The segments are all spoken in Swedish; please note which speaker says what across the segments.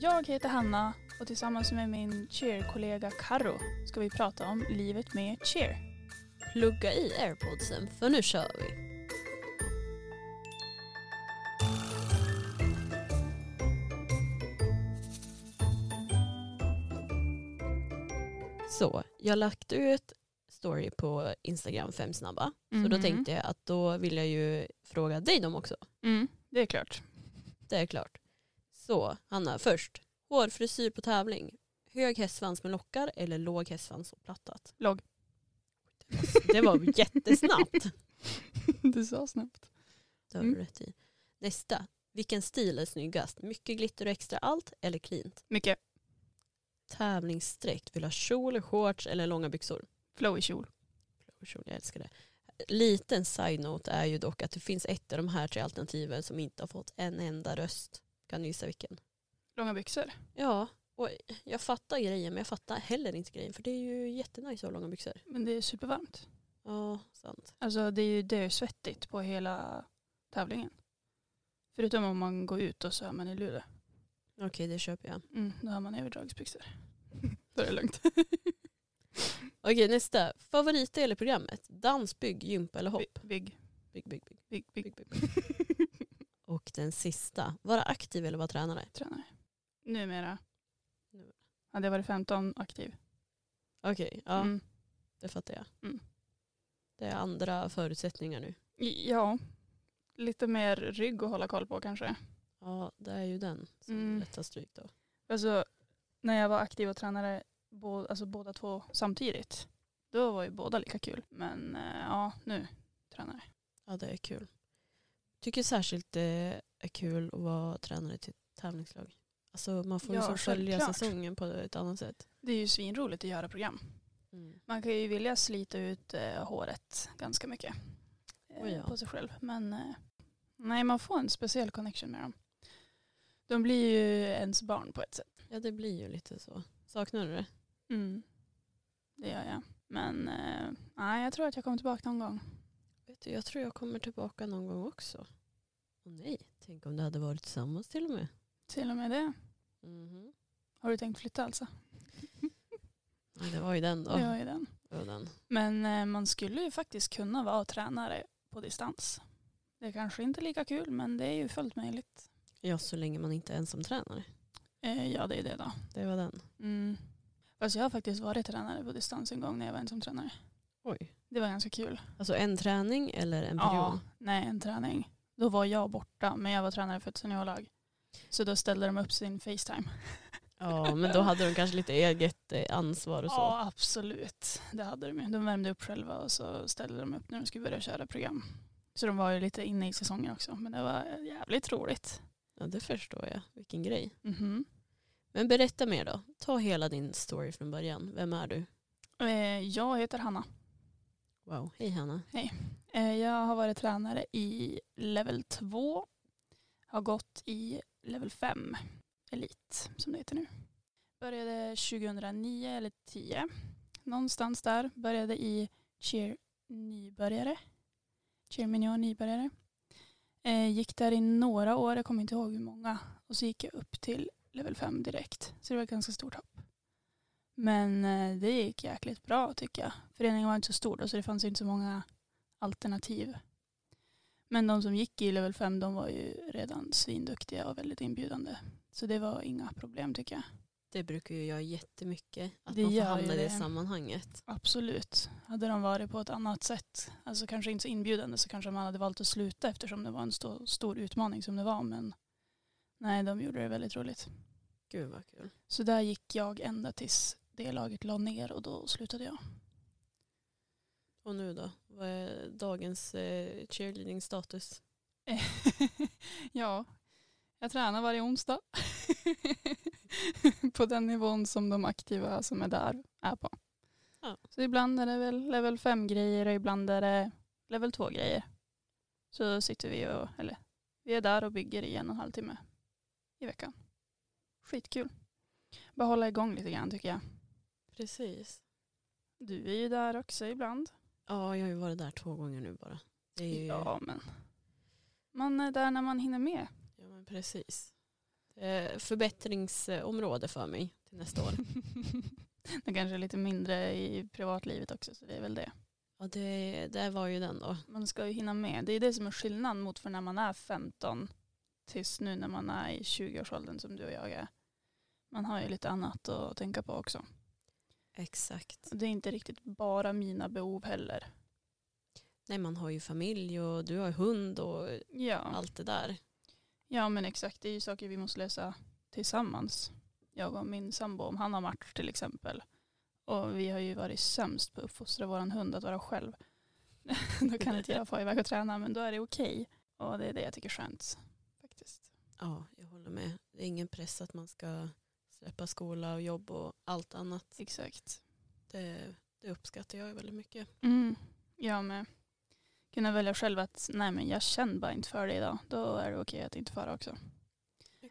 Speaker 1: Jag heter Hanna och tillsammans med min cheer-kollega Karo ska vi prata om livet med cheer.
Speaker 2: Plugga i airpodsen för nu kör vi. Så, jag lagt ut story på Instagram fem snabba. Så
Speaker 1: Mhm.
Speaker 2: då tänkte jag att då vill jag ju fråga dig dem också.
Speaker 1: Mm, det är klart.
Speaker 2: Det är klart. Så, Hanna, först. Hårfrisyr på tävling. Hög hästsvans med lockar eller låg hästsvans och plattat?
Speaker 1: Låg.
Speaker 2: Det var jättesnabbt.
Speaker 1: du sa snabbt.
Speaker 2: Det har du
Speaker 1: Mm.
Speaker 2: rätt i. Nästa. Vilken stil är snyggast? Mycket glitter och extra allt eller cleant?
Speaker 1: Mycket
Speaker 2: Tävlingsdräkt. Vill ha kjol, shorts eller långa byxor?
Speaker 1: flow i kjol.
Speaker 2: Kjol, jag älskar det. Liten side-note är ju dock att det finns ett av de här tre alternativen som inte har fått en enda röst. Kan du gissa vilken?
Speaker 1: Långa byxor.
Speaker 2: Ja, och jag fattar grejen men jag fattar heller inte grejen för det är ju jättenice att ha långa byxor.
Speaker 1: Men det är supervarmt.
Speaker 2: Ja, sant.
Speaker 1: Alltså det är ju dösvettigt på hela tävlingen. Förutom om man går ut och så är man i Luleå.
Speaker 2: Okej, det köper jag.
Speaker 1: Mm, då har man överdragsbyxor. då är det lugnt.
Speaker 2: Okej, nästa. Favoritdel i programmet? Dans, bygg, gympa eller hopp?
Speaker 1: Bygg,
Speaker 2: Bygg, bygg, bygg.
Speaker 1: bygg, bygg.
Speaker 2: Bygg, bygg, bygg. Och den sista. Vara aktiv eller vara tränare?
Speaker 1: Tränare. Numera.
Speaker 2: Numera.
Speaker 1: Hade jag varit 15 aktiv.
Speaker 2: Okej, ja
Speaker 1: Mm.
Speaker 2: det fattar jag.
Speaker 1: Mm.
Speaker 2: Det är andra förutsättningar nu.
Speaker 1: Ja, lite mer rygg att hålla koll på kanske.
Speaker 2: Ja, det är ju den som
Speaker 1: Mm.
Speaker 2: lätt tar stryk då.
Speaker 1: Alltså, när jag var aktiv och tränare bå, alltså, båda två samtidigt, då var ju båda lika kul. Men eh, ja, nu tränare.
Speaker 2: Ja, det är kul. Tycker särskilt det är kul att vara tränare till ett tävlingslag. Alltså man får ju
Speaker 1: Ja,
Speaker 2: så följa
Speaker 1: självklart.
Speaker 2: säsongen på ett annat sätt.
Speaker 1: Det är ju svinroligt att göra program.
Speaker 2: Mm.
Speaker 1: Man kan ju vilja slita ut eh, håret ganska mycket eh,
Speaker 2: Oj, ja.
Speaker 1: på sig själv. Men eh, nej, man får en speciell connection med dem. De blir ju ens barn på ett sätt.
Speaker 2: Ja, det blir ju lite så. Saknar du det? Mm.
Speaker 1: Det gör jag. Men eh, nej, jag tror att jag kommer tillbaka någon gång.
Speaker 2: Vet du, jag tror jag kommer tillbaka någon gång också. Och nej, tänk om det hade varit tillsammans till och med.
Speaker 1: Till och med det.
Speaker 2: Mhm.
Speaker 1: Har du tänkt flytta alltså?
Speaker 2: Ja, det var ju den då.
Speaker 1: Det var ju den.
Speaker 2: Det var den.
Speaker 1: Men eh, man skulle ju faktiskt kunna vara tränare på distans. Det är kanske inte lika kul men det är ju fullt möjligt.
Speaker 2: Ja, så länge man inte är ensamtränare.
Speaker 1: Eh, ja det är det då.
Speaker 2: Det var den.
Speaker 1: Mm. Fast jag har faktiskt varit tränare på distans en gång när jag var ensam tränare.
Speaker 2: Oj.
Speaker 1: Det var ganska kul.
Speaker 2: Alltså en träning eller en period?
Speaker 1: Ja, nej en träning. Då var jag borta men jag var tränare för ett seniorlag. Så då ställde de upp sin Facetime.
Speaker 2: Ja, men då hade de kanske lite eget eh, ansvar och så.
Speaker 1: Ja absolut, det hade de ju. De värmde upp själva och så ställde de upp när de skulle börja köra program. Så de var ju lite inne i säsongen också men det var jävligt roligt.
Speaker 2: Ja, det förstår jag. Vilken grej.
Speaker 1: Mhm.
Speaker 2: Men berätta mer då. Ta hela din story från början. Vem är du?
Speaker 1: Eh, Jag heter Hanna.
Speaker 2: Wow. Hej Hanna.
Speaker 1: Eh, Jag har varit tränare i level 2. Har gått i level 5. Elit som det heter nu. Började 2009 eller 10. Någonstans där. Började i cheer nybörjare. Cheer minion nybörjare. Eh, Gick där i några år, jag kommer inte ihåg hur många. Och så gick jag upp till level 5 direkt. Så det var ett ganska stort hopp. Men eh, det gick jäkligt bra tycker jag. Föreningen var inte så stor då så det fanns ju inte så många alternativ. Men de som gick i level 5 de var ju redan svinduktiga och väldigt inbjudande. Så det var inga problem tycker jag.
Speaker 2: Det brukar ju jag jättemycket. Att
Speaker 1: Det
Speaker 2: man får
Speaker 1: gör ju
Speaker 2: hamna i det
Speaker 1: det.
Speaker 2: sammanhanget.
Speaker 1: Absolut. Hade de varit på ett annat sätt, alltså kanske inte så inbjudande så kanske man hade valt att sluta eftersom det var en sto- stor utmaning som det var. Men nej, de gjorde det väldigt roligt.
Speaker 2: Gud vad kul.
Speaker 1: Så där gick jag ända tills det laget la ner och då slutade jag.
Speaker 2: Och nu då? Vad är dagens eh, cheerleading status?
Speaker 1: ja, jag tränar varje onsdag. på den nivån som de aktiva som är där är på.
Speaker 2: Ja.
Speaker 1: Så ibland är det väl level 5-grejer och ibland är det level 2-grejer. Så sitter vi och, eller vi är där och bygger i en och en halv timme i veckan. Skitkul. Bara hålla igång lite grann tycker jag.
Speaker 2: Precis.
Speaker 1: Du är ju där också ibland.
Speaker 2: Ja, jag har ju varit där två gånger nu bara. Det är ju...
Speaker 1: Ja men man är där när man hinner med.
Speaker 2: Ja, men precis. Eh, förbättringsområde för mig till nästa år.
Speaker 1: det kanske är lite mindre i privatlivet också så det är väl det.
Speaker 2: Ja, det, det var ju den då.
Speaker 1: Man ska ju hinna med. Det är det som är skillnaden mot för när man är 15 tills nu när man är i 20-årsåldern som du och jag är. Man har ju lite annat att tänka på också.
Speaker 2: Exakt.
Speaker 1: Och Det är inte riktigt bara mina behov heller.
Speaker 2: Nej, man har ju familj och du har hund och
Speaker 1: Ja,
Speaker 2: allt det där.
Speaker 1: ja men exakt. Det är ju saker vi måste lösa tillsammans. Jag och min sambo, om han har match till exempel. Och vi har ju varit sämst på att uppfostra vår hund att vara själv. då kan inte jag få iväg och träna men då är det okej. Och det är det jag tycker är skönt faktiskt.
Speaker 2: Ja, jag håller med. Det är ingen press att man ska släppa skola och jobb och allt annat.
Speaker 1: Exakt.
Speaker 2: Det, det uppskattar jag ju väldigt mycket.
Speaker 1: Mm, jag med. Kunna välja själv att nej men jag känner bara inte för det idag. Då är det okej att inte föra också.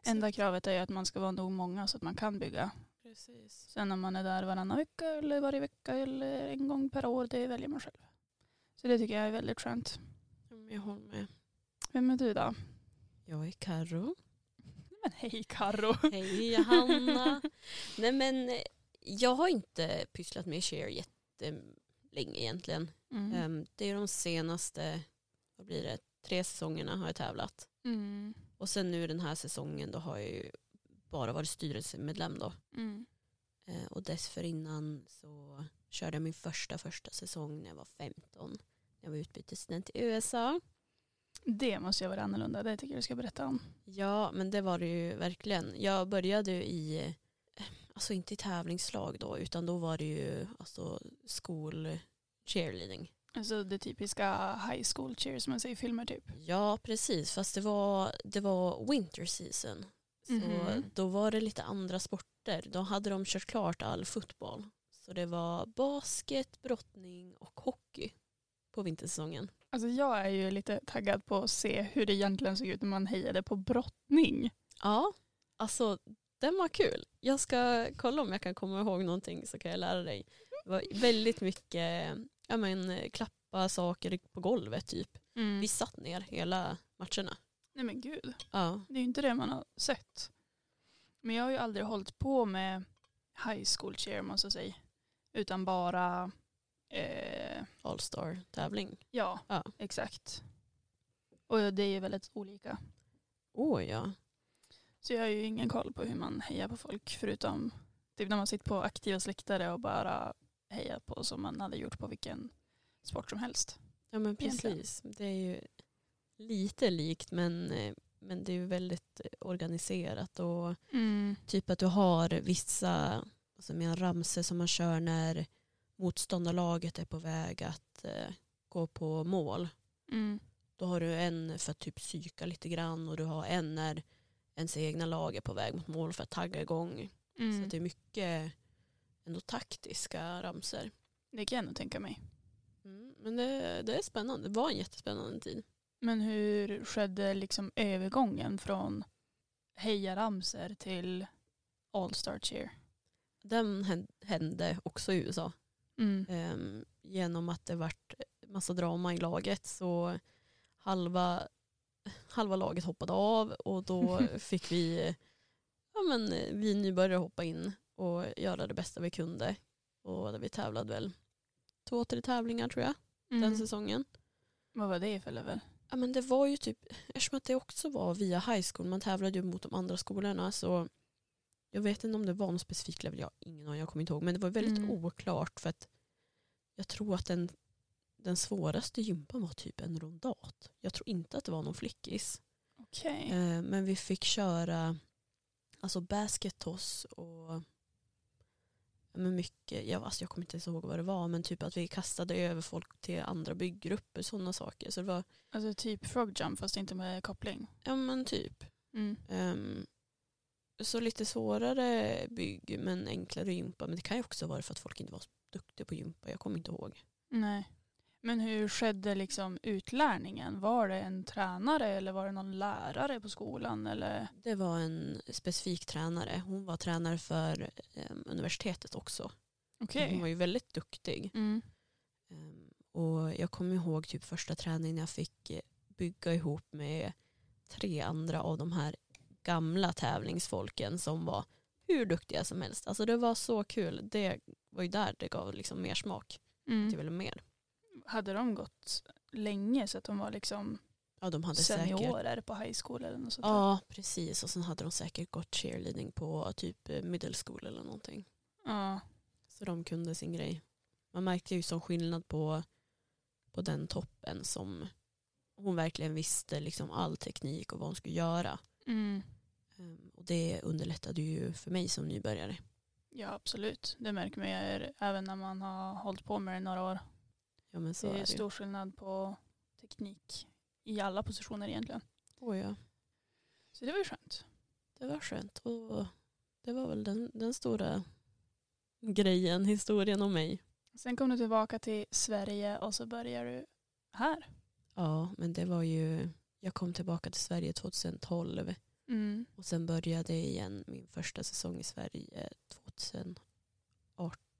Speaker 1: Enda kravet är ju att man ska vara nog många så att man kan bygga.
Speaker 2: Precis.
Speaker 1: Sen om man är där varannan vecka eller varje vecka eller en gång per år, det väljer man själv. Så det tycker jag är väldigt skönt.
Speaker 2: Ja, men Jag håller med.
Speaker 1: Vem är du då?
Speaker 2: Jag är Karo.
Speaker 1: Men hej Karo.
Speaker 2: Hej Hanna. Nej men eh, jag har inte pysslat med Cher jättelänge egentligen.
Speaker 1: Mm.
Speaker 2: Ehm, Det är de senaste, vad blir det, tre säsongerna har jag tävlat.
Speaker 1: Mm.
Speaker 2: Och sen nu den här säsongen då har jag ju bara varit styrelsemedlem då.
Speaker 1: Mm.
Speaker 2: Eh, Och dessförinnan så körde jag min första första säsong när jag var 15. Jag var utbytesstudent i USA.
Speaker 1: Det måste ju vara annorlunda, det tycker jag du ska berätta om.
Speaker 2: Ja, men det var det ju verkligen. Jag började ju i, eh, alltså inte i tävlingslag då, utan då var det ju alltså skol cheerleading.
Speaker 1: Alltså det typiska high school cheer som man ser i filmer typ.
Speaker 2: Ja, precis, fast det var, det var winter season. Så
Speaker 1: Mhm.
Speaker 2: då var det lite andra sporter. Då hade de kört klart all fotboll. Så det var basket, brottning och hockey på vintersäsongen.
Speaker 1: Alltså jag är ju lite taggad på att se hur det egentligen såg ut när man hejade på brottning.
Speaker 2: Ja, alltså den var kul. Jag ska kolla om jag kan komma ihåg någonting så kan jag lära dig. Det var väldigt mycket ja, men, klappa saker på golvet typ.
Speaker 1: Mm.
Speaker 2: Vi satt ner hela matcherna.
Speaker 1: Nej men gud,
Speaker 2: Ja,
Speaker 1: det är ju inte det man har sett. Men jag har ju aldrig hållit på med high school cheer måste jag säga. Utan bara, eh,
Speaker 2: All Star tävling.
Speaker 1: ja,
Speaker 2: Ja.
Speaker 1: exakt. Och det är ju väldigt olika.
Speaker 2: Åh ja.
Speaker 1: Så jag har ju ingen koll på hur man hejar på folk förutom typ när man sitter på aktiva släktare och bara hejar på som man hade gjort på vilken sport som helst.
Speaker 2: Ja men
Speaker 1: Egentligen.
Speaker 2: precis. Det är ju lite likt men, eh, men det är ju väldigt eh, organiserat och
Speaker 1: Mm.
Speaker 2: Typ att du har vissa alltså med en ramse som man kör när motståndarlaget är på väg att eh, gå på mål.
Speaker 1: Mm.
Speaker 2: Då har du en för att typ psyka lite grann och du har en när ens egna lag är på väg mot mål för att tagga igång. Så
Speaker 1: Mm.
Speaker 2: att det är mycket ändå taktiska ramser.
Speaker 1: Det kan jag nog tänka mig.
Speaker 2: Mm, men det, det är spännande. Det var en jättespännande tid.
Speaker 1: Men hur skedde liksom övergången från hejaramser till All Star Cheer?
Speaker 2: Den hän- hände också i USA.
Speaker 1: Mm.
Speaker 2: Ehm, genom att det vart massa drama i laget så halva, halva laget hoppade av och då fick vi, ja men, vi nybörjare hoppa in och göra det bästa vi kunde. Och vi tävlade väl två, tre tävlingar tror jag den
Speaker 1: Mm.
Speaker 2: säsongen.
Speaker 1: Vad var det för level?
Speaker 2: Ja men det var ju typ, eftersom att det också var via high school, man tävlade ju mot de andra skolorna så jag vet inte om det var någon specifik level, jag har ingen aning, jag kommer inte ihåg. Men det var väldigt
Speaker 1: Mm.
Speaker 2: oklart för att jag tror att den, den svåraste gympan var typ en rondat. Jag tror inte att det var någon flickis.
Speaker 1: Okej.
Speaker 2: Eh, men vi fick köra alltså basket toss och ja, men mycket, jag, alltså jag kommer inte ens ihåg vad det var men typ att vi kastade över folk till andra bygggrupper, sådana saker. Så det var,
Speaker 1: Alltså typ frog jump fast inte med koppling.
Speaker 2: ja men typ.
Speaker 1: Mm.
Speaker 2: Ehm, så lite svårare bygg men enklare gympa. Men det kan ju också vara för att folk inte var så duktiga på gympa. Jag kommer inte ihåg.
Speaker 1: Nej. Men hur skedde liksom utlärningen? Var det en tränare eller var det någon lärare på skolan? Eller?
Speaker 2: Det var en specifik tränare. Hon var tränare för ehm, universitetet också.
Speaker 1: Okej.
Speaker 2: Hon var ju väldigt duktig.
Speaker 1: Mm.
Speaker 2: Ehm, och jag kommer ihåg typ första träningen jag fick eh, bygga ihop med tre andra av de här gamla tävlingsfolken som var hur duktiga som helst. Alltså det var så kul. Det var ju där det gav liksom mer smak. Det
Speaker 1: Mm.
Speaker 2: ville mer.
Speaker 1: Hade de gått länge så att de var liksom
Speaker 2: Ja, de hade säkert.
Speaker 1: seniorer på high school eller något sånt där?
Speaker 2: Ja, precis. Och sen hade de säkert gått cheerleading på typ eh, middle school eller någonting.
Speaker 1: Ja.
Speaker 2: Så de kunde sin grej. Man märkte ju som skillnad på, på den toppen som hon verkligen visste liksom all teknik och vad hon skulle göra.
Speaker 1: Mm.
Speaker 2: Ehm, Och det underlättade ju för mig som nybörjare.
Speaker 1: ja, absolut. Det märker man ju även när man har hållit på med det i några år.
Speaker 2: Ja, men så
Speaker 1: det är,
Speaker 2: ju.
Speaker 1: stor skillnad på teknik i alla positioner egentligen.
Speaker 2: Åh, ja.
Speaker 1: Så det var ju skönt.
Speaker 2: Det var skönt. Och det var väl den, den stora grejen, historien om mig.
Speaker 1: Sen kom du tillbaka till Sverige och så börjar du här.
Speaker 2: Ja, men det var ju, jag kom tillbaka till Sverige 2012
Speaker 1: Mm.
Speaker 2: och sen började jag igen min första säsong i Sverige 2018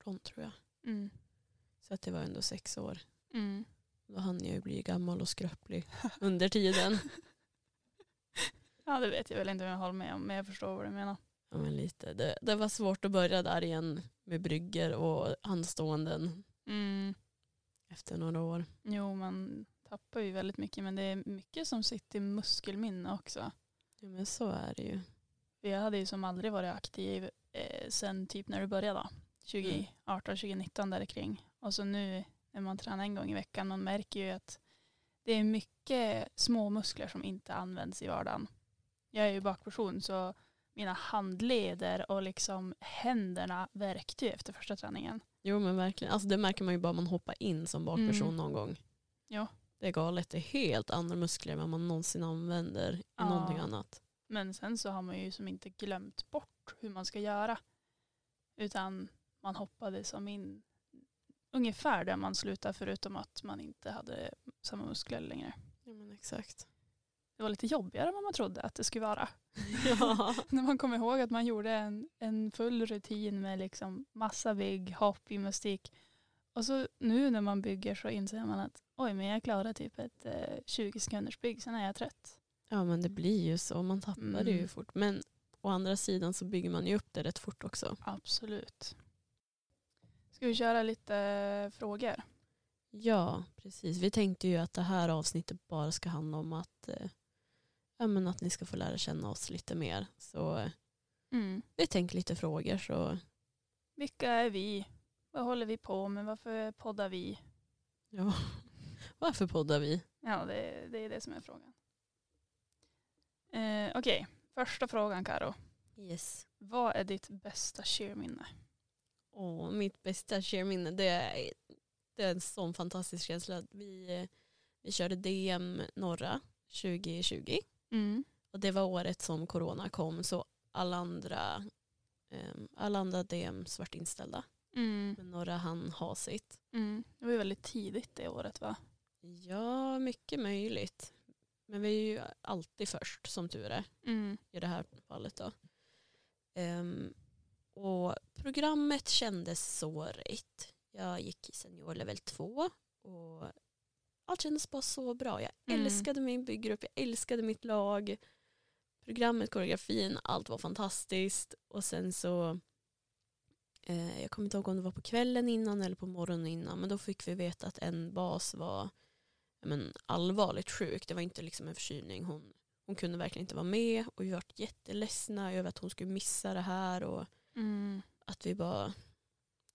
Speaker 2: tror jag.
Speaker 1: Mm.
Speaker 2: Så att det var ändå sex år.
Speaker 1: Mm.
Speaker 2: Då hann jag ju bli gammal och skröplig under tiden.
Speaker 1: Ja, det vet jag väl inte om jag håller med om, men jag förstår vad du menar.
Speaker 2: Ja, men lite. Det, det var svårt att börja där igen med brygger och handståenden
Speaker 1: Mm.
Speaker 2: efter några år.
Speaker 1: Jo, man tappar ju väldigt mycket, men det är mycket som sitter i muskelminne också.
Speaker 2: Ja, men så är det ju.
Speaker 1: Vi hade ju som aldrig varit aktiv eh, sen typ när du började då, 2018, 2019 där kring. Och så nu när man tränar en gång i veckan, man märker ju att det är mycket små muskler som inte används i vardagen. Jag är ju bakperson så mina handleder och liksom händerna värkte ju efter första träningen.
Speaker 2: Jo men verkligen. Alltså, det märker man ju bara man hoppar in som bakperson
Speaker 1: Mm.
Speaker 2: någon gång.
Speaker 1: Ja.
Speaker 2: Det är galet. Det är helt andra muskler än vad man någonsin använder i
Speaker 1: Ja.
Speaker 2: någonting annat.
Speaker 1: Men sen så har man ju som inte glömt bort hur man ska göra. Utan man hoppade som in ungefär där man slutade förutom att man inte hade samma muskler längre.
Speaker 2: Ja men exakt.
Speaker 1: Det var lite jobbigare än vad man trodde att det skulle vara.
Speaker 2: ja.
Speaker 1: När man kommer ihåg att man gjorde en, en full rutin med liksom massa vigg, hopp, gymnastik. Och så nu när man bygger så inser man att oj men jag klarar typ ett eh, 20 sekunders bygg, sen är jag trött.
Speaker 2: ja men det blir ju så. Man tappar det ju
Speaker 1: Mm.
Speaker 2: fort. Men å andra sidan så bygger man ju upp det rätt fort också.
Speaker 1: Absolut. Ska vi köra lite eh, frågor?
Speaker 2: Ja precis. Vi tänkte ju att det här avsnittet bara ska handla om att, eh, ja, men att ni ska få lära känna oss lite mer. Så eh,
Speaker 1: Mm.
Speaker 2: vi tänkte lite frågor. Så
Speaker 1: Vilka är vi? Vad håller vi på med? Varför poddar vi?
Speaker 2: ja. varför poddar vi?
Speaker 1: Ja, det, det är det som är frågan. Eh, Okej, första frågan Karo.
Speaker 2: Yes.
Speaker 1: Vad är ditt bästa cheerminne?
Speaker 2: Åh, mitt bästa cheerminne, det är, det är en sån fantastisk känsla. Vi, vi körde DM norra 2020
Speaker 1: Mm.
Speaker 2: och det var året som corona kom så alla andra, um, alla andra DMs vart inställda.
Speaker 1: Mm.
Speaker 2: Men norra han ha sitt.
Speaker 1: Mm. Det var ju väldigt tidigt det året va?
Speaker 2: Ja, mycket möjligt. Men vi är ju alltid först som tur är
Speaker 1: Mm.
Speaker 2: i det här fallet. Då. Ehm, och programmet kändes så rätt. Jag gick i senior level 2 och allt kändes bara så bra. Jag
Speaker 1: Mm.
Speaker 2: älskade min byggrupp, jag älskade mitt lag. Programmet, koreografin, allt var fantastiskt. Och sen så, eh, jag kommer inte ihåg om det var på kvällen innan eller på morgonen innan, men då fick vi veta att en bas var ja, men, allvarligt sjuk. Det var inte liksom en förkylning. Hon hon kunde verkligen inte vara med och vi vart jätteledsna över att hon skulle missa det här och
Speaker 1: Mm.
Speaker 2: att vi bara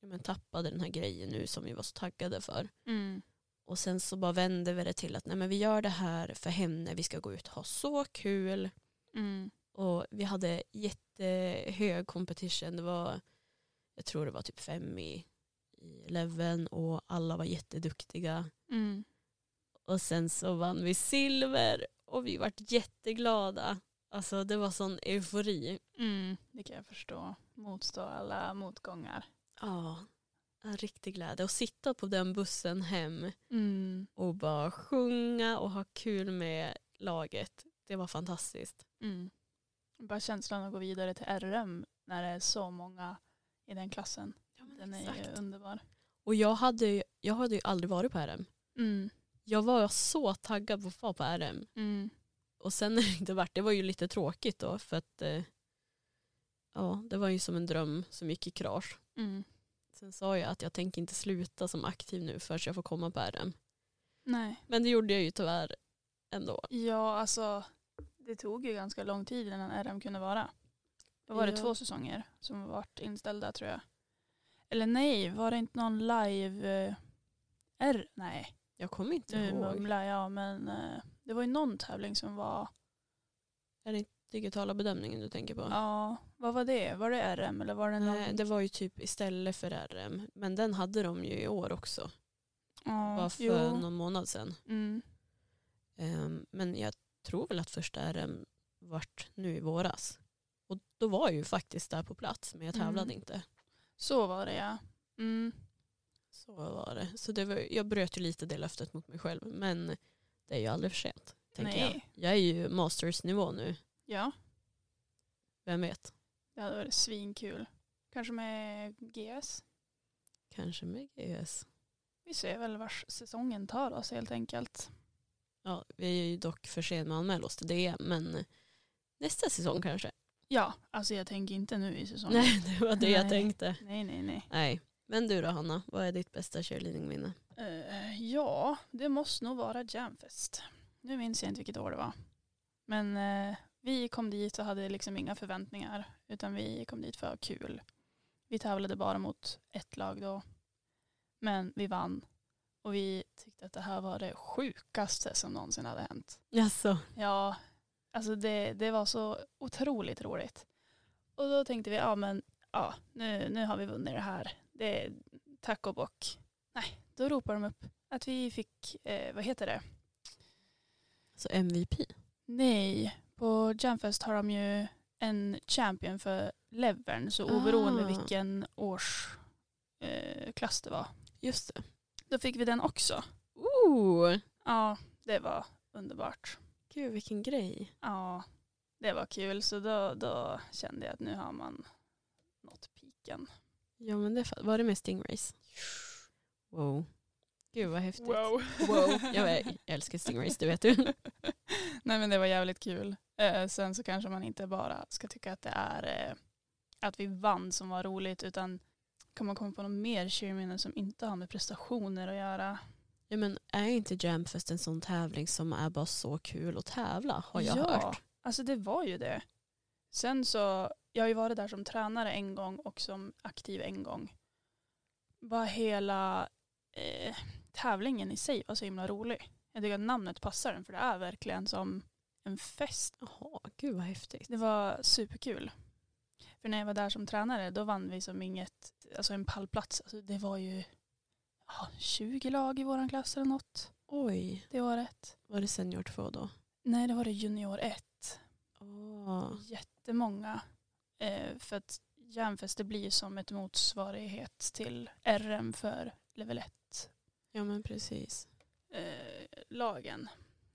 Speaker 2: ja, men, tappade den här grejen nu som vi var så taggade för.
Speaker 1: Mm.
Speaker 2: Och sen så bara vände vi det till att nej men vi gör det här för henne, vi ska gå ut och ha så kul.
Speaker 1: Mm.
Speaker 2: Och vi hade jättehög competition, det var, jag tror det var typ fem i, i leveln och alla var jätteduktiga.
Speaker 1: Mm.
Speaker 2: Och sen så vann vi silver och vi vart jätteglada. Alltså det var sån eufori.
Speaker 1: Mm. Det kan jag förstå. Motstå alla motgångar.
Speaker 2: Ja, en riktig glädje. Och sitta på den bussen hem
Speaker 1: Mm.
Speaker 2: och bara sjunga och ha kul med laget. Det var fantastiskt.
Speaker 1: Mm. Bara känslan att gå vidare till RM när det är så många i den klassen. Den är ju underbar.
Speaker 2: Och jag hade, ju- jag hade ju aldrig varit på RM.
Speaker 1: Mm.
Speaker 2: Jag var så taggad på att få på RM.
Speaker 1: Mm.
Speaker 2: Och sen när det inte vart, det var ju lite tråkigt då för att eh, ja, det var ju som en dröm som gick i krasch.
Speaker 1: Mm.
Speaker 2: Sen sa jag att jag tänker inte sluta som aktiv nu förrän jag får komma på RM.
Speaker 1: Nej.
Speaker 2: Men det gjorde jag ju tyvärr ändå.
Speaker 1: Ja, alltså det tog ju ganska lång tid innan RM kunde vara. Då var det
Speaker 2: Ja.
Speaker 1: två säsonger som varit inställda tror jag. Eller nej, var det inte någon live... eh, R? Nej,
Speaker 2: Jag kommer inte
Speaker 1: nu
Speaker 2: ihåg.
Speaker 1: mumlar jag men eh, det var ju någon tävling som var...
Speaker 2: Är det digitala bedömningen du tänker på?
Speaker 1: Ja, vad var det? Var det RM eller var det någon...
Speaker 2: Nej, det var ju typ istället för RM. Men den hade de ju i år också.
Speaker 1: ja,
Speaker 2: Bara för
Speaker 1: jo.
Speaker 2: någon månad sedan.
Speaker 1: Mm.
Speaker 2: Ehm, men jag tror väl att första RM vart nu i våras. Och då var jag ju faktiskt där på plats men jag tävlade
Speaker 1: Mm.
Speaker 2: inte.
Speaker 1: Så var det ja. Mm.
Speaker 2: Så var det. Så det var, jag bröt ju lite det löftet mot mig själv. Men det är ju aldrig för sent. Tänker jag.
Speaker 1: Nej.
Speaker 2: jag är ju mastersnivå nu.
Speaker 1: Ja,
Speaker 2: Vem vet?
Speaker 1: det hade varit svinkul. Kanske med GS.
Speaker 2: Kanske med GS.
Speaker 1: Vi ser väl vars säsongen tar oss helt enkelt.
Speaker 2: Ja, vi är ju dock för sena med att anmäla oss till det. Men nästa säsong kanske.
Speaker 1: Ja, alltså jag tänker inte nu i säsongen.
Speaker 2: Nej, det var det jag
Speaker 1: Nej.
Speaker 2: tänkte.
Speaker 1: Nej, nej, nej.
Speaker 2: Nej. Men du då Hanna, vad är ditt bästa cheerleadingminne?
Speaker 1: Eh, ja, det måste nog vara Jamfest. Nu minns jag inte vilket år det var. Men eh, vi kom dit och hade liksom inga förväntningar. Utan vi kom dit för att ha kul. Vi tävlade bara mot ett lag då. Men vi vann. Och vi tyckte att det här var det sjukaste som någonsin hade hänt.
Speaker 2: Jaså?
Speaker 1: Ja, alltså det, det var så otroligt roligt. Och då tänkte vi, ja men ja, nu, nu har vi vunnit det här. Det är tack och bock. Nej, då ropar de upp att vi fick, eh, vad heter det?
Speaker 2: Så MVP?
Speaker 1: Nej, på Jamfest har de ju en champion för levern, så oberoende
Speaker 2: Ah.
Speaker 1: vilken årsklass eh, klass det var.
Speaker 2: Just det.
Speaker 1: Då fick vi den också.
Speaker 2: Ooh,
Speaker 1: Ja, det var underbart.
Speaker 2: gud vilken grej.
Speaker 1: Ja, det var kul. Så då, då kände jag att nu har man nått piken.
Speaker 2: Ja men det fa- var det med Stingrays? Wow. Gud vad häftigt. Wow. Jag, är- jag älskar Stingrays, det vet du.
Speaker 1: Nej men det var jävligt kul. Eh, sen så kanske man inte bara ska tycka att det är eh, att vi vann som var roligt utan kan man komma på något mer cheerminne som inte har med prestationer att göra?
Speaker 2: Ja men är inte Jamfest en sån tävling som är bara så kul att tävla? Har jag
Speaker 1: ja,
Speaker 2: hört.
Speaker 1: alltså det var ju det. Sen så, jag har ju varit där som tränare en gång och som aktiv en gång. Bara hela eh, tävlingen i sig var så himla rolig. Jag tycker att namnet passar den för det är verkligen som en fest.
Speaker 2: Jaha, gud vad häftigt.
Speaker 1: Det var superkul. För när jag var där som tränare då vann vi som inget, alltså en pallplats. Alltså det var ju ja, 20 lag i våran klass eller något
Speaker 2: Oj,
Speaker 1: det året.
Speaker 2: var det senior två då?
Speaker 1: Nej det var det junior 1.
Speaker 2: Åh,
Speaker 1: jättemånga. Eh, för att järnfäste blir som ett motsvarighet till RM för level 1
Speaker 2: Ja men precis.
Speaker 1: eh, lagen.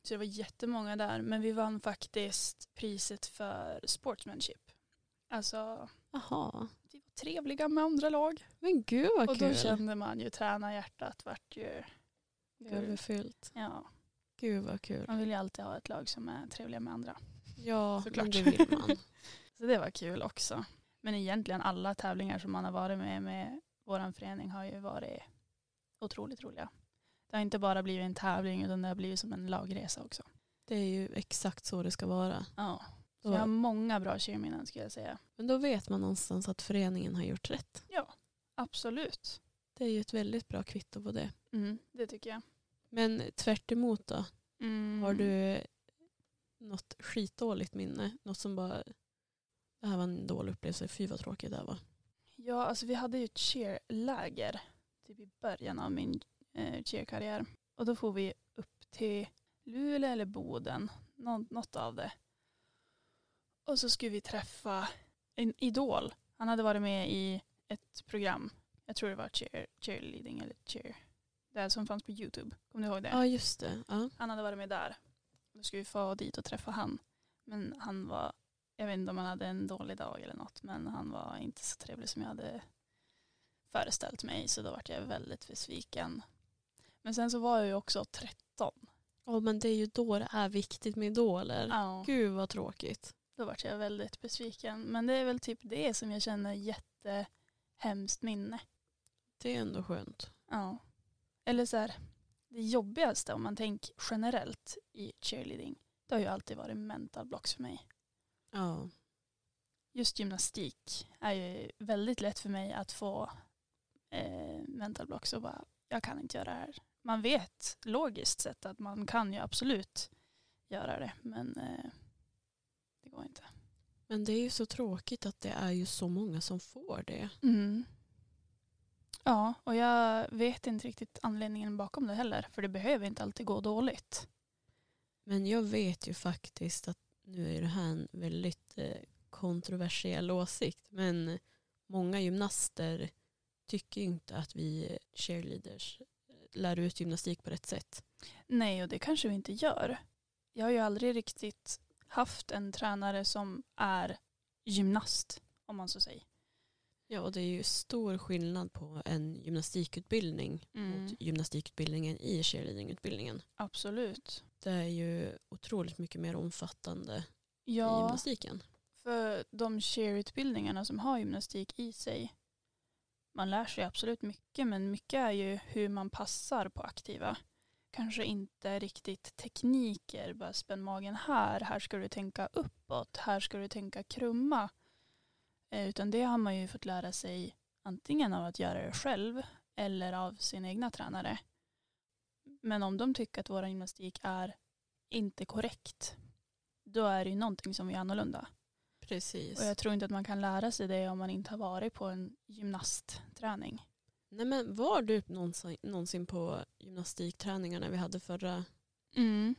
Speaker 1: Så det var jättemånga där men vi vann faktiskt priset för sportsmanship. Alltså
Speaker 2: Jaha,
Speaker 1: vi var trevliga med andra lag
Speaker 2: men gud vad
Speaker 1: och
Speaker 2: kul.
Speaker 1: då kände man ju träna hjärtat vart ju guld.
Speaker 2: Överfyllt.
Speaker 1: Ja,
Speaker 2: Gud vad kul.
Speaker 1: man vill ju alltid ha ett lag som är trevliga med andra.
Speaker 2: Ja,
Speaker 1: Såklart.
Speaker 2: men det vill man.
Speaker 1: Så det var kul också. Men egentligen alla tävlingar som man har varit med med vår förening har ju varit otroligt roliga. Det har inte bara blivit en tävling utan det har blivit som en lagresa också.
Speaker 2: Det är ju exakt så det ska vara.
Speaker 1: Ja. Så
Speaker 2: Då,
Speaker 1: jag har många bra cheerminnen skulle jag säga.
Speaker 2: Men då vet man någonstans att föreningen har gjort rätt.
Speaker 1: Absolut.
Speaker 2: Det är ju ett väldigt bra kvitto på det.
Speaker 1: Mm, det tycker jag.
Speaker 2: Men tvärt emot då,
Speaker 1: Mm.
Speaker 2: har du något skitdåligt minne? Något som bara, det här var en dålig upplevelse, fy vad tråkigt det här var.
Speaker 1: Ja, alltså vi hade ju ett cheerläger typ i början av min eh, cheerkarriär. Och då får vi upp till Luleå eller Boden, nå- något av det. Och så skulle vi träffa en idol. Han hade varit med i ett program. Jag tror det var cheer, cheerleading eller cheer. Det som fanns på YouTube. Kommer du ihåg det?
Speaker 2: Ja just det, ja.
Speaker 1: Han hade varit med där. Då skulle vi få dit och träffa han. Men han var, jag vet inte om han hade en dålig dag eller något, men han var inte så trevlig som jag hade föreställt mig, så då vart jag väldigt besviken. Men sen så var jag ju också 13,
Speaker 2: Ja men det är ju då det är viktigt med idoler.
Speaker 1: Ja,
Speaker 2: Gud vad tråkigt.
Speaker 1: då vart jag väldigt besviken. Men det är väl typ det som jag känner jättehemskt minne.
Speaker 2: Det är ändå skönt.
Speaker 1: Ja. Eller så här, det jobbigaste om man tänker generellt i cheerleading, det har ju alltid varit mental blocks för mig.
Speaker 2: Ja.
Speaker 1: Just gymnastik är ju väldigt lätt för mig att få eh, mental blocks och bara, jag kan inte göra det här. Man vet logiskt sett att man kan ju absolut göra det, men eh, det går inte.
Speaker 2: Men det är ju så tråkigt att det är ju så många som får det.
Speaker 1: Mm. Ja, och jag vet inte riktigt anledningen bakom det heller, för det behöver inte alltid gå dåligt.
Speaker 2: Men jag vet ju faktiskt att nu är det här en väldigt eh, kontroversiell åsikt. Men många gymnaster tycker ju inte att vi cheerleaders eh, lär ut gymnastik på rätt sätt.
Speaker 1: Nej, och det kanske vi inte gör. Jag har ju aldrig riktigt haft en tränare som är gymnast, om man så säger.
Speaker 2: Ja, och det är ju stor skillnad på en gymnastikutbildning
Speaker 1: Mm.
Speaker 2: mot gymnastikutbildningen i cheerleadingutbildningen.
Speaker 1: Absolut.
Speaker 2: Det är ju otroligt mycket mer omfattande i
Speaker 1: Ja,
Speaker 2: gymnastiken.
Speaker 1: för de cheerutbildningarna som har gymnastik i sig, man lär sig absolut mycket, men mycket är ju hur man passar på aktiva. Kanske inte riktigt tekniker, bara spänn magen här, här ska du tänka uppåt, här ska du tänka krumma. Eh, utan det har man ju fått lära sig antingen av att göra det själv eller av sina egna tränare. Men om de tycker att vår gymnastik är inte korrekt, då är det ju någonting som är annorlunda.
Speaker 2: Precis.
Speaker 1: Och jag tror inte att man kan lära sig det om man inte har varit på en gymnastträning.
Speaker 2: Nej, men var du någonsin, någonsin på gymnastikträningarna vi hade förra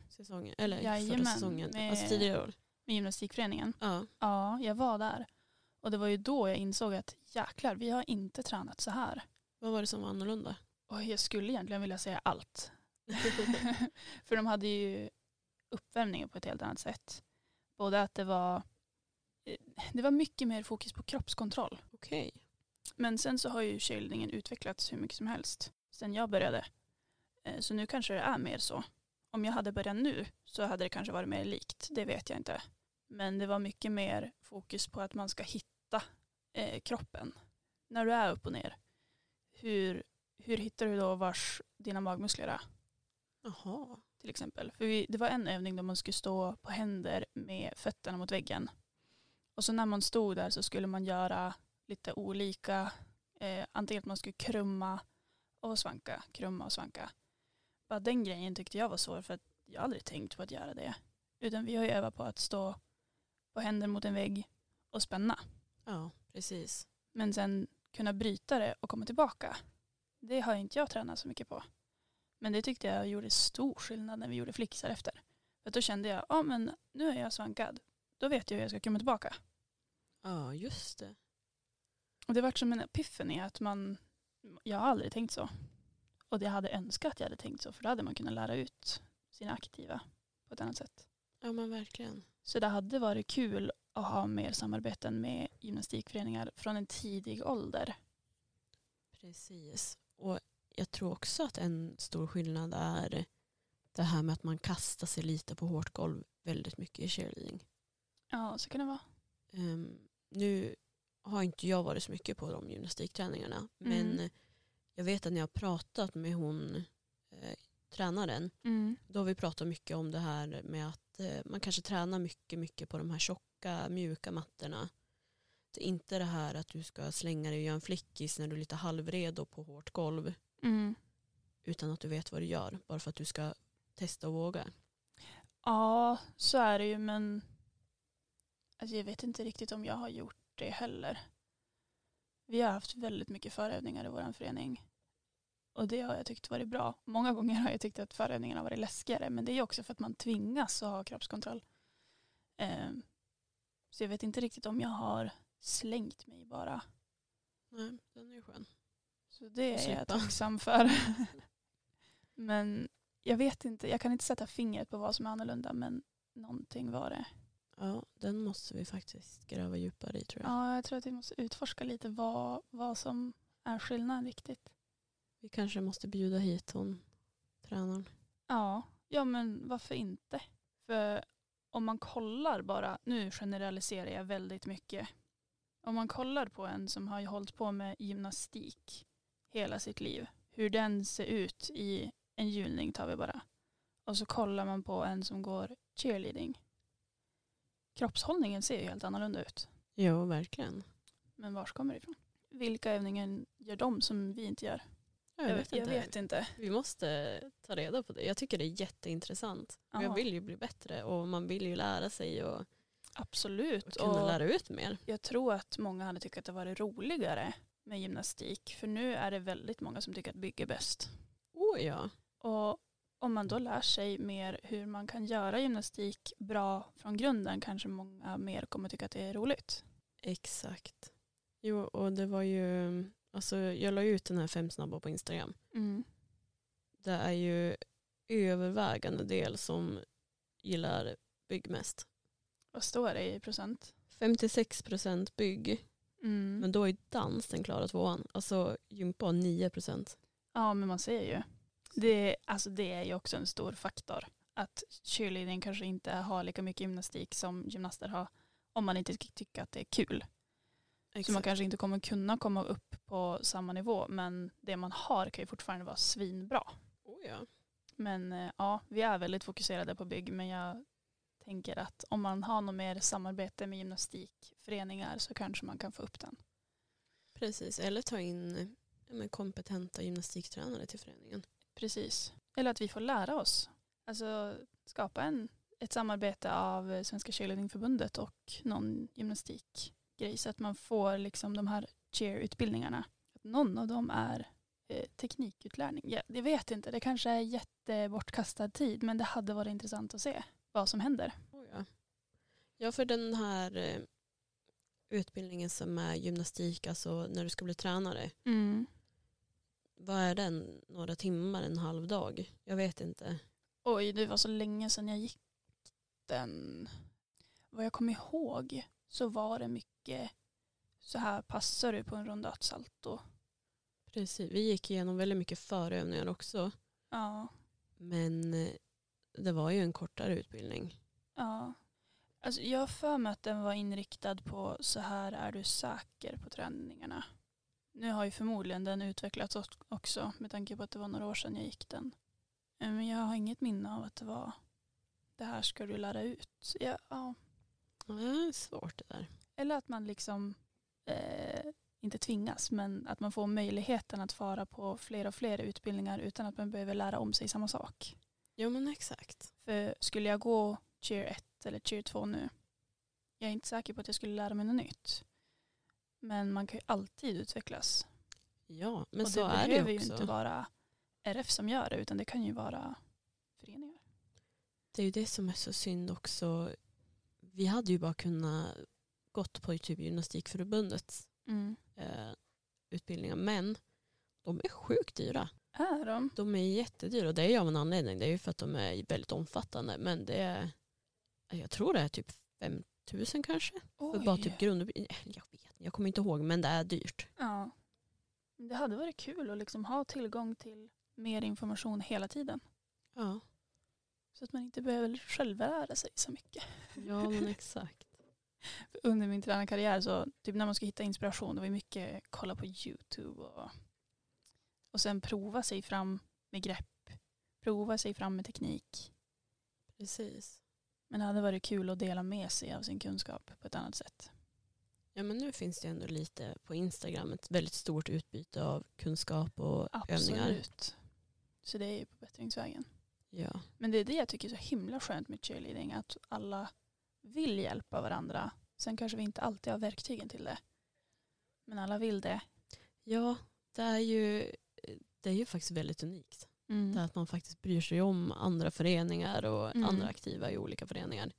Speaker 2: säsongen? Eller
Speaker 1: Jajamän,
Speaker 2: förra säsongen,
Speaker 1: med-
Speaker 2: alltså tidigare år.
Speaker 1: Med gymnastikföreningen.
Speaker 2: Ja.
Speaker 1: Ja, jag var där. Och det var ju då jag insåg att jäklar, vi har inte tränat så här.
Speaker 2: Vad var det som var annorlunda?
Speaker 1: Och jag skulle egentligen vilja säga allt. För de hade ju uppvärmningen på ett helt annat sätt. Både att det var, eh, det var mycket mer fokus på kroppskontroll.
Speaker 2: Okej.
Speaker 1: Men sen så har ju cheerleadingen utvecklats hur mycket som helst sen jag började. Eh, Så nu kanske det är mer så. Om jag hade börjat nu så hade det kanske varit mer likt, det vet jag inte. Men det var mycket mer fokus på att man ska hitta eh, kroppen. När du är upp och ner, hur, hur hittar du då vars dina magmuskler är?
Speaker 2: Jaha.
Speaker 1: till exempel. För vi, det var en övning där man skulle stå på händer med fötterna mot väggen. Och så när man stod där så skulle man göra lite olika, eh, antingen att man skulle krumma och svanka, krumma och svanka. Bara den grejen tyckte jag var svår för att jag har aldrig tänkt på att göra det. Utan vi har ju övat på att stå på händer mot en vägg och spänna.
Speaker 2: Ja, precis.
Speaker 1: Men sen kunna bryta det och komma tillbaka. Det har inte jag tränat så mycket på. Men det tyckte jag gjorde stor skillnad när vi gjorde flixar efter. För att då kände jag, ja ah, men nu är jag svankad. Då vet jag hur jag ska komma tillbaka.
Speaker 2: Ja, just det.
Speaker 1: Och det vart som en epiphany att man, jag har aldrig tänkt så. Och det hade önskat att jag hade tänkt så för då hade man kunnat lära ut sina aktiva på ett annat sätt.
Speaker 2: Ja, men verkligen.
Speaker 1: Så det hade varit kul att ha mer samarbeten med gymnastikföreningar från en tidig ålder.
Speaker 2: Precis. Och jag tror också att en stor skillnad är det här med att man kastar sig lite på hårt golv väldigt mycket i cheerleading.
Speaker 1: Ja, så kan det vara.
Speaker 2: Ehm, nu har inte jag varit så mycket på de gymnastikträningarna
Speaker 1: Mm.
Speaker 2: men jag vet att när jag har pratat med hon eh, tränaren då har vi pratat mycket om det här med att eh, man kanske tränar mycket, mycket på de här tjocka, mjuka mattorna. Det är inte det här att du ska slänga dig och göra en flickis när du är lite halvredo på hårt golv
Speaker 1: Mm.
Speaker 2: utan att du vet vad du gör bara för att du ska testa och våga.
Speaker 1: Ja, så är det ju men alltså jag vet inte riktigt om jag har gjort det heller. Vi har haft väldigt mycket förövningar i vår förening. Och det har jag tyckt varit bra. Många gånger har jag tyckt att förövningarna har varit läskigare men det är ju också för att man tvingas att ha kroppskontroll. Ehm, så jag vet inte riktigt om jag har slängt mig bara.
Speaker 2: Nej, den är ju skön.
Speaker 1: Så det
Speaker 2: Och
Speaker 1: är jag
Speaker 2: slippa.
Speaker 1: tacksam för. men jag vet inte, jag kan inte sätta fingret på vad som är annorlunda men någonting var det.
Speaker 2: Ja, den måste vi faktiskt gräva djupare i tror jag.
Speaker 1: Ja, jag tror att vi måste utforska lite vad, vad som är skillnaden riktigt.
Speaker 2: Vi kanske måste bjuda hit hon, tränaren.
Speaker 1: Ja, Ja men varför inte? För om man kollar bara, nu generaliserar jag väldigt mycket. Om man kollar på en som har ju hållit på med gymnastik hela sitt liv, hur den ser ut i en hjulning tar vi bara. Och så kollar man på en som går cheerleading. Kroppshållningen ser ju helt annorlunda ut.
Speaker 2: Jo, verkligen.
Speaker 1: Men var kommer det ifrån? Vilka övningar gör de som vi inte gör? Jag vet, jag vet inte.
Speaker 2: Vi måste ta reda på det. Jag tycker det är jätteintressant. Och
Speaker 1: Ja.
Speaker 2: Jag vill ju bli bättre och man vill ju lära sig och, och
Speaker 1: Absolut.
Speaker 2: kunna
Speaker 1: Och-
Speaker 2: lära ut mer.
Speaker 1: Jag tror att många hade tyckt att det varit roligare med gymnastik. För nu är det väldigt många som tycker att bygg är bäst.
Speaker 2: Oh ja.
Speaker 1: Och om man då lär sig mer hur man kan göra gymnastik bra från grunden kanske många mer kommer tycka att det är roligt.
Speaker 2: Exakt. Jo, och det var ju, alltså jag la ut den här fem snabba på Instagram.
Speaker 1: Mm.
Speaker 2: Det är ju övervägande del som gillar bygg mest.
Speaker 1: Vad står det i procent?
Speaker 2: 56% bygg,
Speaker 1: Mm.
Speaker 2: men då är dansen klara tvåan. Alltså gympa 9%.
Speaker 1: Ja men man ser ju. Det, alltså det är ju också en stor faktor. Att cheerleading kanske inte har lika mycket gymnastik som gymnaster har. Om man inte tycker att det är kul. Så man kanske inte kommer kunna komma upp på samma nivå men det man har kan ju fortfarande vara svinbra.
Speaker 2: Oh, ja.
Speaker 1: Men eh, ja, vi är väldigt fokuserade på bygg men jag tänker att om man har något mer samarbete med gymnastikföreningar så kanske man kan få upp den.
Speaker 2: Precis, eller ta in ja, men kompetenta gymnastiktränare till föreningen.
Speaker 1: Precis. Eller att vi får lära oss. Alltså skapa en, ett samarbete av eh, Svenska cheerleadingförbundet och någon gymnastikgrej så att man får liksom de här cheerutbildningarna. Att någon av dem är eh, teknikutlärning. Jag, jag vet inte, det kanske är jättebortkastad tid men det hade varit intressant att se vad som händer.
Speaker 2: Oh, ja. ja, för den här eh, utbildningen som är gymnastik, alltså när du ska bli tränare, vad är den? Några timmar, en halv dag? Jag vet inte.
Speaker 1: Oj, det var så länge sedan jag gick den. Vad jag kommer ihåg så var det mycket så här passar du på en runda ett salto.
Speaker 2: Precis, vi gick igenom väldigt mycket förövningar också,
Speaker 1: Ja,
Speaker 2: men eh, det var ju en kortare utbildning.
Speaker 1: ja. Alltså jag har för mig att den var inriktad på så här är du säker på träningarna. Nu har ju förmodligen den utvecklats ock- också med tanke på att det var några år sedan jag gick den. Eh, Men jag har inget minne av att det var det här ska du lära ut. Ja, ja.
Speaker 2: Ja, det är svårt det där.
Speaker 1: Eller att man liksom eh, inte tvingas men att man får möjligheten att fara på fler och fler utbildningar utan att man behöver lära om sig samma sak.
Speaker 2: Jo men exakt.
Speaker 1: För skulle jag gå cheer 1 eller cheer 2 nu, jag är inte säker på att jag skulle lära mig något nytt. Men man kan ju alltid utvecklas.
Speaker 2: Ja, men
Speaker 1: och
Speaker 2: så
Speaker 1: det
Speaker 2: är det
Speaker 1: behöver
Speaker 2: ju
Speaker 1: ju
Speaker 2: också.
Speaker 1: inte vara RF som gör det, utan det kan ju vara föreningar.
Speaker 2: Det är ju det som är så synd också. Vi hade ju bara kunnat gått på typ Gymnastikförbundets eh, utbildningar men de är sjukt dyra.
Speaker 1: Är de?
Speaker 2: De är jättedyra och det är ju av en anledning. Det är ju för att de är väldigt omfattande men det är, jag tror det är typ 5 000 kanske. För bara typ grundutbildning. Jag vet inte, jag kommer inte ihåg men det är dyrt.
Speaker 1: ja. Det hade varit kul att liksom ha tillgång till mer information hela tiden.
Speaker 2: Ja,
Speaker 1: Så att man inte behöver självlära sig så mycket.
Speaker 2: ja men exakt.
Speaker 1: Under min tränarkarriär så typ när man ska hitta inspiration det var ju mycket kolla på YouTube och, och sen prova sig fram med grepp, prova sig fram med teknik.
Speaker 2: Precis.
Speaker 1: Men det hade varit kul att dela med sig av sin kunskap på ett annat sätt.
Speaker 2: Ja men nu finns det ju ändå lite på Instagram ett väldigt stort utbyte av kunskap och övningar.
Speaker 1: Absolut. Så det är ju på bättringsvägen.
Speaker 2: Ja.
Speaker 1: Men det är det jag tycker är så himla skönt med cheerleading, att alla vill hjälpa varandra. Sen kanske vi inte alltid har verktygen till det. Men alla vill det.
Speaker 2: Ja, det är ju, det är ju faktiskt väldigt unikt. Det här att man faktiskt bryr sig om andra föreningar och
Speaker 1: Mm.
Speaker 2: andra aktiva i olika föreningar.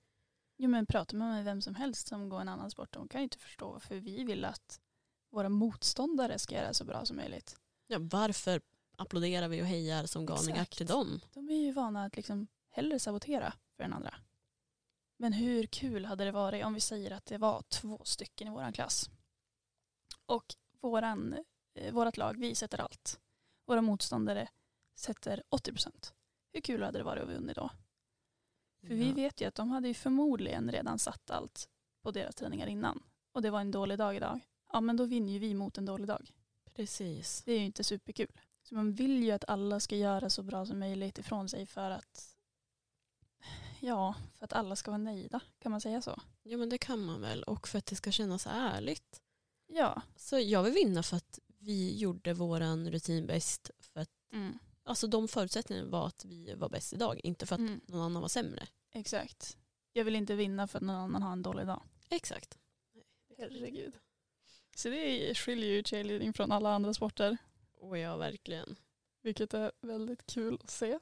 Speaker 1: Jo men pratar man med vem som helst som går en annan sport, de kan ju inte förstå varför vi vill att våra motståndare ska göra så bra som möjligt.
Speaker 2: Ja, varför applåderar vi och hejar som galningar
Speaker 1: Exakt.
Speaker 2: till dem?
Speaker 1: De är ju vana att liksom hellre sabotera för den andra. Men hur kul hade det varit om vi säger att det var två stycken i våran klass. Och våran, eh, vårat lag, vi sätter allt. Våra motståndare sätter 80 procent. Hur kul hade det varit att vinna då? För vi vet ju att de hade ju förmodligen redan satt allt på deras träningar innan. Och det var en dålig dag idag. Ja men då vinner ju vi mot en dålig dag.
Speaker 2: Precis.
Speaker 1: Det är ju inte superkul. Så man vill ju att alla ska göra så bra som möjligt ifrån sig för att ja, för att alla ska vara nöjda. Kan man säga så?
Speaker 2: Ja men det kan man väl och för att det ska kännas ärligt.
Speaker 1: Ja.
Speaker 2: Så jag vill vinna för att vi gjorde våran rutin bäst. För att,
Speaker 1: Mm.
Speaker 2: alltså de förutsättningarna var att vi var bäst idag, inte för att
Speaker 1: Mm.
Speaker 2: någon annan var sämre.
Speaker 1: Exakt. Jag vill inte vinna för att någon annan har en dålig dag.
Speaker 2: Exakt.
Speaker 1: Herregud. Så det skiljer ju cheerleading från alla andra sporter.
Speaker 2: Och ja, verkligen.
Speaker 1: Vilket är väldigt kul att se.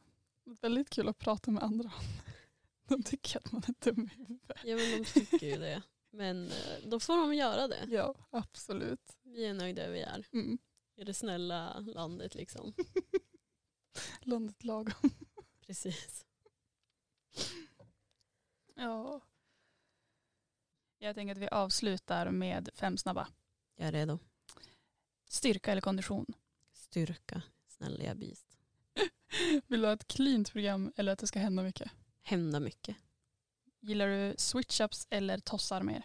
Speaker 1: Väldigt kul att prata med andra om. De tycker att man är dum i huvudet.
Speaker 2: Ja men de tycker ju det. Men eh, då får de göra det.
Speaker 1: Ja, absolut.
Speaker 2: Vi är nöjda vi är.
Speaker 1: Mm.
Speaker 2: I det snälla landet liksom.
Speaker 1: Landet lagom.
Speaker 2: Precis.
Speaker 1: Ja. Jag tänker att vi avslutar med fem snabba.
Speaker 2: Jag är redo.
Speaker 1: Styrka eller kondition?
Speaker 2: Styrka. Snälla jag bist.
Speaker 1: Vill du ha ett cleant program eller att det ska hända mycket?
Speaker 2: Hända mycket.
Speaker 1: Gillar du switch-ups eller tossar mer?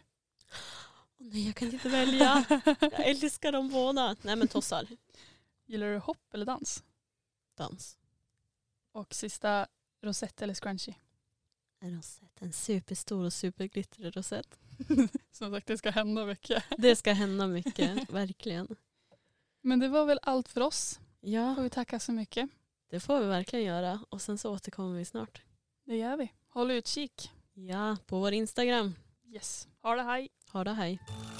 Speaker 2: Åh nej jag kan inte välja. Jag älskar dem båda. Nej men tossar.
Speaker 1: Gillar du hopp eller dans?
Speaker 2: Dans.
Speaker 1: Och sista, rosett eller scrunchie?
Speaker 2: En rosett. En superstor och superglittrig rosett.
Speaker 1: Som sagt, det ska hända mycket.
Speaker 2: Det ska hända mycket. Verkligen.
Speaker 1: Men det var väl allt för oss. Får
Speaker 2: Ja
Speaker 1: vi tacka så mycket.
Speaker 2: det får vi verkligen göra. Och sen så återkommer vi snart.
Speaker 1: Det gör vi. Håll utkik.
Speaker 2: Ja på vår Instagram.
Speaker 1: Yes. Ha det, hej.
Speaker 2: Ha det hej.